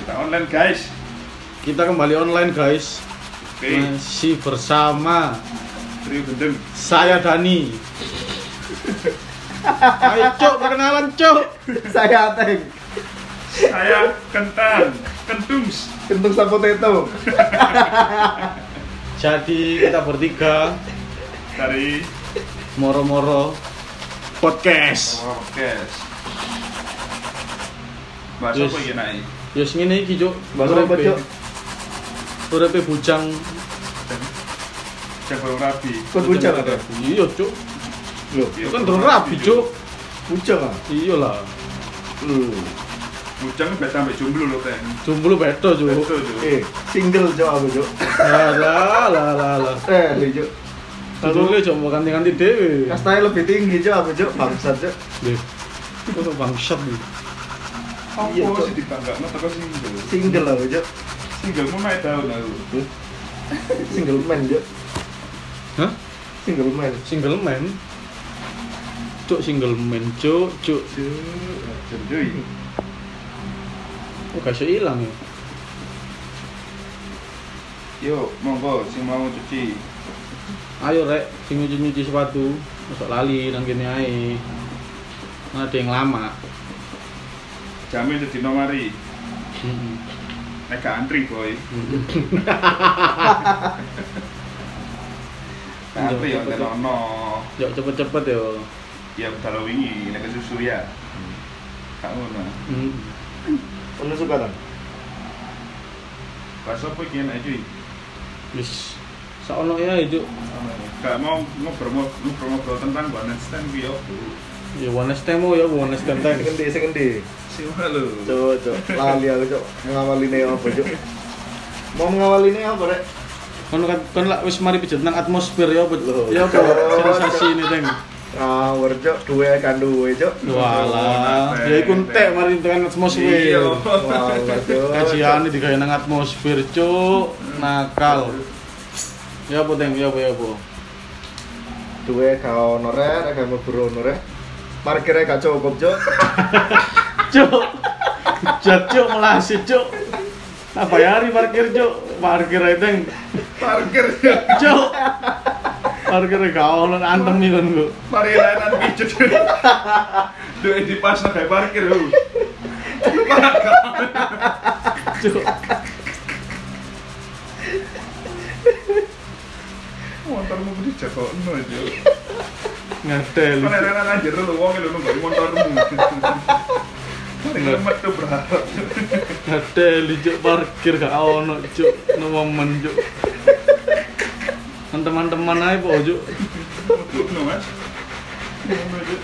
Kita online guys. Kita kembali online guys. Oke, Masih bersama Trio Gendeng. saya Dani. Ayo cok perkenalan cok. saya Ateng Saya Kentan, Kentungs. kentung sama potato Jadi kita bertiga dari moro-moro podcast. podcast. Bahas Yes. apa ya naik? Yus ngene iki cok. Bahasa apa, Cok? Urepe bujang. Jago rabi. Kok bujang ada? Iya cok. Loh, Itu kan drone rapi Iya. cok. bujang ah? Iya lah. Hmm. Bujang beda sampai jomblo loh kan. Jomblo beda cok. Betul tuh. Eh, single Cok aku Cok Lah lah lah lah lah. Eh, lu, Cok Judulnya cok mau ganti-ganti dewe. Kastanya lebih tinggi Cok aku Cok Bangsat Cok Deh. Kok bangsat nih. Iya, Apa Cok. sih dibangga? Nggak tahu single. Single aku Cok Singlemu naik tahun aku. Single man Cok Hah? Single man single man cuk single man cuk cuk Cuk, cuy. kok gak hilang ya Yo, monggo, sing mau cuci. ayo rek sing nyuci nyuci sepatu masuk lali nang kene ae Nah, ada yang lama Jamin jadi nomari. Mm-mm. Nek gak antri boy. Mm-mm. Gak Antri Iya, ya betul. telono. yuk cepet-cepet yo Ya kalau wingi nek susu ya. Gak ngono. Mm. Ono suka kan? Pas apa iki enak cuy? wis saono ya itu Gak mau ngobrol-ngobrol tentang one night stand ki yo. ya one night stand ya one night stand thanks. Sekendi, sekendi Siwa lho. Cok, Cok Lali aku Cok Ngawali ini apa Cok Mau mengawali ini apa Rek? kan kan kan lah wis mari pijet nang atmosfer ya bud Loh. ya apa sensasi ini teng Ngawur Cok Dua kan dua Cok walah ya iku entek mari tekan atmosfer Iya. Wah, Cok kajian ini digawe nang atmosfer cuk nakal ya apa teng ya apa ya apa duwe gak ono rek, gak mlebu ono rek. Parkire gak cukup, Cuk. cuk jat cuk melasi cuk tak bayari parkir cuk parkir ae teng Parkir ya. cuk parkir gak ono antem nih kan gua Mari layanan pijet. Duwe di pas kayak parkir lho. cuk Motormu kudu jagokno itu. ngadel Kan layanan anjir lho wong lho nunggu motormu. Mari lemet tuh berharap. ngadel cuk parkir gak ono cuk no momen cuk teman-teman ae po cuk Ngono Mas. Ngono, Cuk.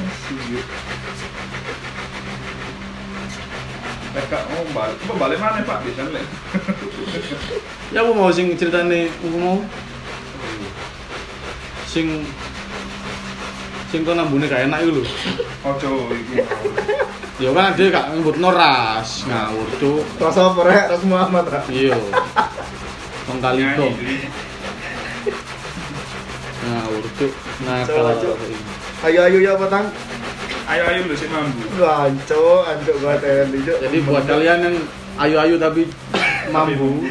Asu, Cuk. Mereka oh balik, Mbak, balik mana Pak? Di sana. Lek. ya aku mau sing ceritane aku mau sing sing kok nambune gak enak iku lho. Ojo iki. Ya kan dia gak nyebut noras, ngawur cuk. Rasa apa rek? Rasa Muhammad rek. Iya. Wong kali Nyanyi, to. Cuk. Ngawur cuk. Nah, Coba, kalau Cuk. Ayo ayo ya petang. Ayo ayo lu sih mambu. Lu anco, anco gua teli, Cuk. Jadi buat kalian yang ayu-ayu tapi mampu,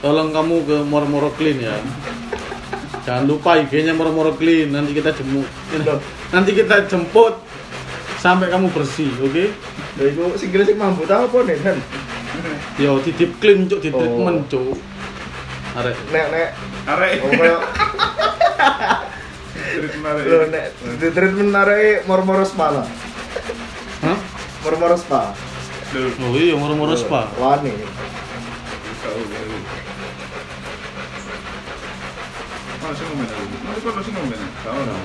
tolong kamu ke Mormoro Clean ya. Jangan lupa IG-nya Mormoro Clean, nanti kita jemuk. Loh. Nanti kita jemput sampai kamu bersih, oke? Lha iku sing kira sing mambu ta apa nih, kan? Yo titip clean cuk, di Oh. treatment cuk. Arek. Nek nek Arek. oh koyo Treatment arek. lho nek di treatment arek mor-mor spa lah. Hah? Mor-mor spa. Lho, Oh iya, moro-moro spa. Wani. tahu, tahu. Mana sih ngomel aku? Mana sih- mana sih ngomel? Tahu lah.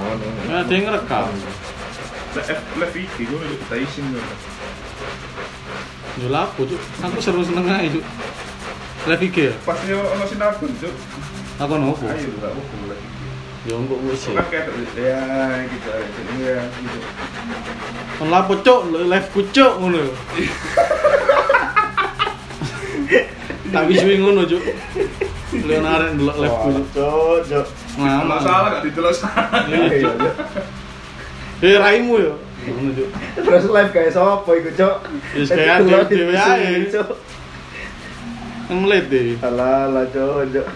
Wani. Ya, ada yang ngerekam. Lek lek iki gue udah kita isin gue. Yo lapo, Cuk. Aku seru seneng ae, Cuk. Live IG ya? Pasti ono sinabun, Cuk. Aku nopo? Ayo lho, tak wuh lagi. Ya engko wis. Kan kayak ya gitu aja. Ya gitu. Kon lapo, Cuk? Live ku, Cuk, ngono. Tapi suwi ngono, Cuk. Nah, Leon arek ndelok live ku. Cuk, cuk. Kalau salah gak dijelas. Iya, iya. Eh raimu yo. Ngono Cuk. Terus live guys, apa iku, Cok? Wis Ya, kayak Iya, Delok di dewe-dewe ae. sini, Cok. Ngelit deh. Alah, lah, Cok, Cok.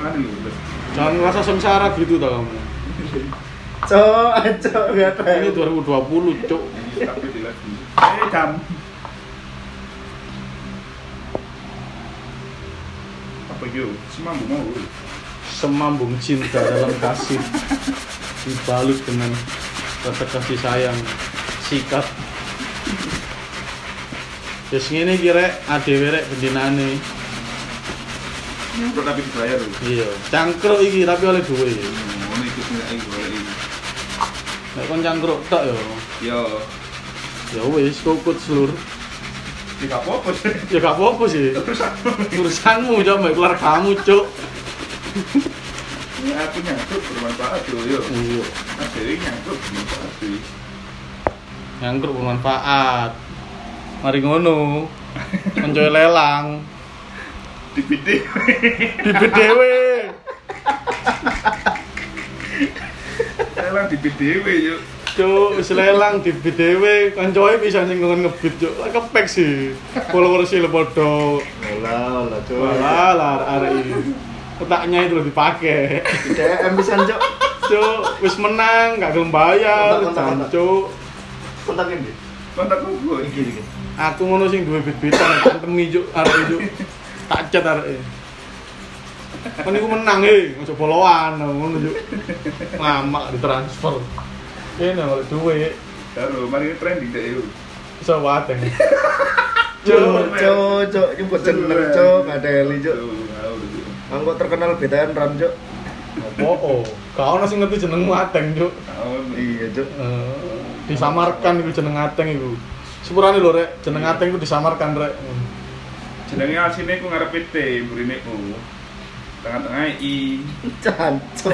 Mana lu? Bes? Jangan ngerasa sengsara gitu tau kamu. Cok, Cok, nggak tahu. Ini 2020, Cuk. Iya, Tapi di live dulu. Eh jam. Apa yo? Semambu mau. woy. Semambung cinta dalam kasih dibalut dengan rasa kasih sayang sikap Terus ngene iki rek adewe rek bendinane. Nyemprot tapi dibayar lho. Iya, cangkruk iki tapi oleh duwe. Ngono iki sing ae golek iki. Nek kon cangkruk tok yo. Yo, Ya wis kokut selur. tidak apa-apa sih. Ya gak apa-apa sih. Terus aku Urusanmu coba keluar kamu, Cuk. Ya, aku nyangkut bermanfaat yo yo. Iya. Nah, jadi nyangkut bermanfaat sih. Nyangkruk bermanfaat. Mari ngono. Mencoy lelang. Di bidik. Bibit dewe. Elang di bidik yo. Cuk, wis lelang di dewe, kancoe bisa sing ngon ngebit, Cuk. Lah kepek sih. Followers e padha. Alah, alah, Cok. Walah, lah arek iki. Kotaknya itu lebih pakai. DM pisan, Cok. Cuk, wis menang, gak gelem bayar. Kontak-kontak. Cuk, Kontakin deh. Kontak gue. Iki, iki. aku ngono sing duwe bit-bitan temi Cuk, arek Cuk. Tak cet arek. e. Kan iku menang e, ojo boloan ngono Cuk. Mamak ditransfer. Ini oleh duwe Karo mari trending deh yo. iso wateng. Cok, Cok, Cok. Nyebut jeneng, Iya, Cok. Ada Eli, Cuk. Aku kok terkenal BTN Ram, Cok. Opo? Kau Oh, ono sing ngerti jeneng wateng Cuk. Iya, Cuk. Eh, disamarkan iku jeneng ateng iku. Sepurane lho rek, jeneng ateng iku disamarkan rek. Jenenge asine ku ngarep T, mburine O. Tengah-tengah I. Cancok.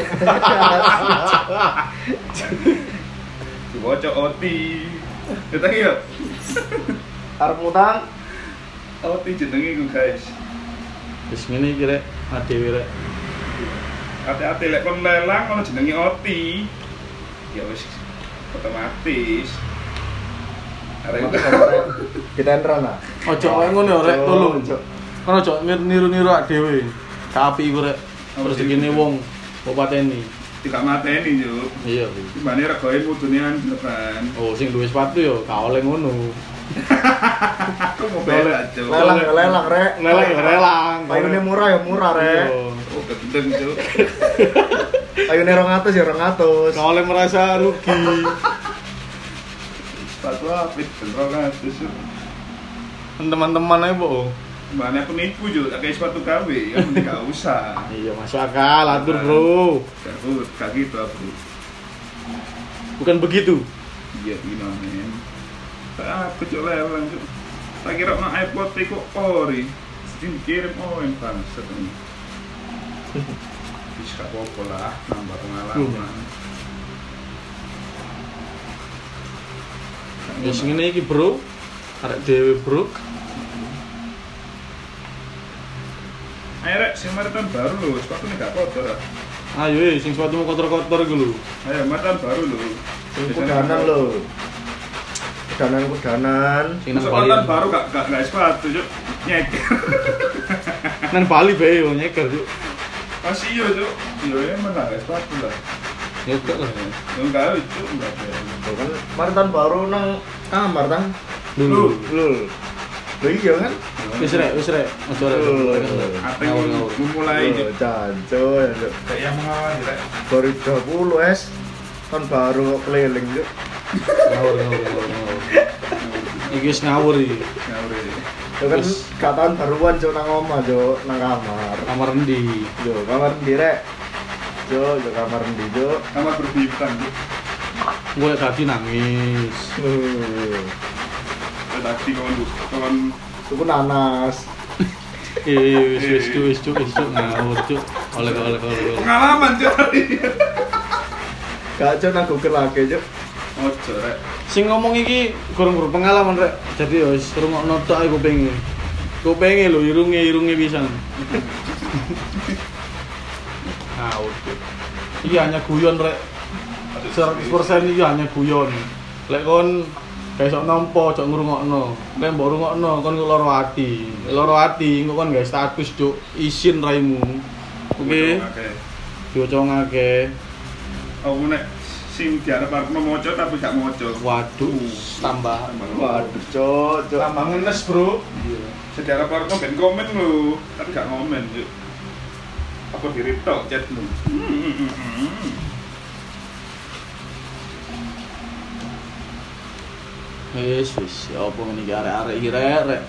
Diwoco Oti. Ya, iya? Ketang yo. Arep ngutang. Oti jenenge ku guys. Wis ngene iki rek, adewe rek. Hati-hati lek kon lelang ono jenenge Oti. Ya wis otomatis. Arek BTN Ram lah. Ojo kowe ngono ya, rek, ah. Cuk, tolong. Cuk. Kan ojo ngir- niru-niru awake dhewe. Tapi iku rek rezekine wong kok pateni. tidak mateni yo. Iya. Gimana regoe mudune anu, anjeran. Oh, sing duwe sepatu yo gak oleh ngono. Aku mau bela jo. Lelang, ya lelang, Rek. Lelang ya lelang. Ayune murah ya murah, Rek. Iya. Oh, gendeng jo. Ayune 200 ya 200. Gak oleh merasa rugi. Sepatu apit gendro kan terus. Teman-teman ae, Bu. Mana aku nipu juga, kayak sepatu KW, ya mending gak usah. Iya, masuk akal atur, Bro. Aku gak gitu aku. Bukan begitu. Iya gimana men. Tak aku cok lelang cok. Tak kira mah iPod itu ori. Sini dikirim OM bangset ini. Bisa gak apa-apa lah, nambah pengalaman. Ya sing ngene iki, Bro. Arek dhewe, Bro. Ayo rek, sing mari tahun baru lho, sepatu ini gak kotor. Rek. Ayo, eh, sing sepatu mau kotor-kotor iku lho. Ayo, mari tahun baru lho. Kudanan lho. Kudanan kudanan. Sing nang Masuk Bali. tahun baru gak gak gak sepatu cok. Nyeker. Nang Bali bae yo nyeker, Cuk. Masih iya cok. Iya emang gak gak sepatu lah. Nyeker lah. Enggak lucu, enggak ada. Tuh kan kemarin tahun baru nang kamar tang. Dulu. Lho. Lho iya kan? Wis rek, wis rek. Ojo rek. Lho. Apa yang Ngawur-ngawur. memulai iya. Lho, Jancu, ya, Cuk. Kayak yang mengawali Rek. baru 20 es. Tahun kan baru kok keliling, Cuk. Ngawur, ngawur, ngawur, ngawur. Iki wis ngawur iki. Ngawur ya. Tuh kan Wis. gak tahun baruan Cuk nang omah, Cuk, nang kamar. Kamar endi? Yo, kamar endi, Rek? Cuk, yo kamar endi, Cuk. Kamar berbintang Cuk. Gue tadi nangis. Lho. Eh, Tadi kawan kawan Tuku nanas. Eh, wis wis Cuk, wis Cuk, wis Cuk ngawur, Cuk. Oleh oleh oleh. oleh. pengalaman Cuk. Gak Cuk nang Google lagi, Cuk. Ojo Rek. sing ngomong iki kurang kurang pengalaman rek jadi ya wis rungokno tok aku pengen aku pengen lho irunge irunge pisan maut Cuk. iya hanya guyon rek 100% iya hanya guyon lek kon besok nampa cok ngrungokno lek mbok rungokno kon ku loro ati Lek loro ati engko kon gawe status cuk isin raimu oke Oke. diocongake aku nek Oh, sing diharap-harap mau moco tapi gak moco waduh tambah Waduh, cok, cok. tambah ngenes bro Iya. Sejarah Parno ben komen lu, tapi gak komen yuk. Apa di reptok chat lu? wis wis ya apa ngene iki arek-arek iki rek rek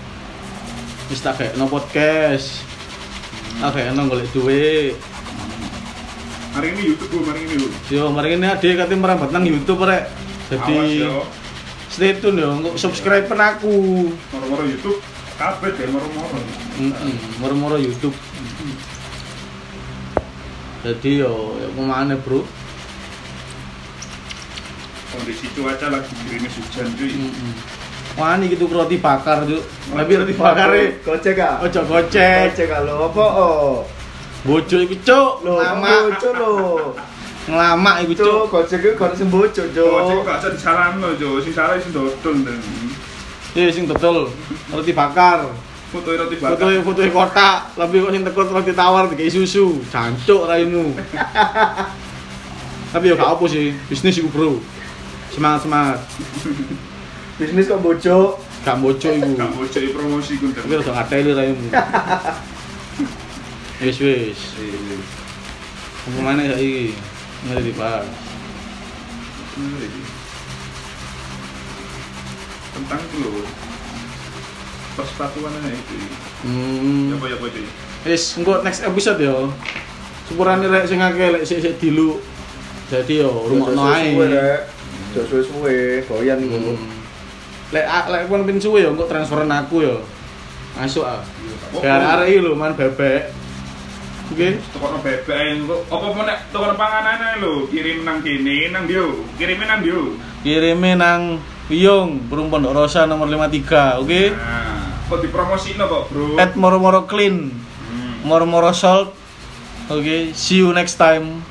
wis tak gaekno podcast tak gaekno golek duit Hari ini YouTube gue, hari ini lu. yo mari ngene ade kate merambat nang YouTube rek Awas jadi yo, stay tune yo engko subscribe aku moro-moro YouTube kabeh deh moro-moro. Mm-mm, moro-moro YouTube jadi yo yo kemana bro Kondisi cuaca lagi gerimis hujan cuy. Mm-mm. wani gitu roti bakar tuh lebih roti bakar eh Gojek ah. ojo gocek Gojek ah, lo apa oh? bojo iku cuk Lo lama bojo lo. ngelamak iku Cok, cuk Gojek itu kan sing bojo, cok. Oh, cek gak bisa disalahno, Jo. Sing salah sing dodol dan ya sing dodol roti bakar foto roti foto bakar. foto kotak lebih kok yang tekut roti tawar dikei susu jancuk raimu tapi ya gak apa sih bisnis iku bro semangat semangat Bisnis kok bojo. gak bojo iku Gak mau jadi promosi gue Tapi rada ngateli raimu. Wis wis. Umumane saiki ngene dibahas. Tentang itu loh. Persatuan aja itu. Ya Hmm. apa ya apa cuy. Wis engko next episode yo. Sepurane rek sing akeh lek sik-sik dilu. Jadi yo rumakno ae. Jos suwe-suwe, goyan iku. Hmm. Lek a- lek kon pin suwe yo engko transferan aku yo. Masuk ah. Biar arek iki lho man bebek. Oke. Tukokno bebek ae engko. Apa mau nek tukokno panganan ae lho, kirim nang kene nang bio, kirimin nang bio. Kirime nang Wiyung, Burung Pondok Rosa nomor 53, oke? Nah, kok dipromosikno kok, Bro? Eh. At Moro Moro Clean. Hmm. More More Salt. Okay, see you next time.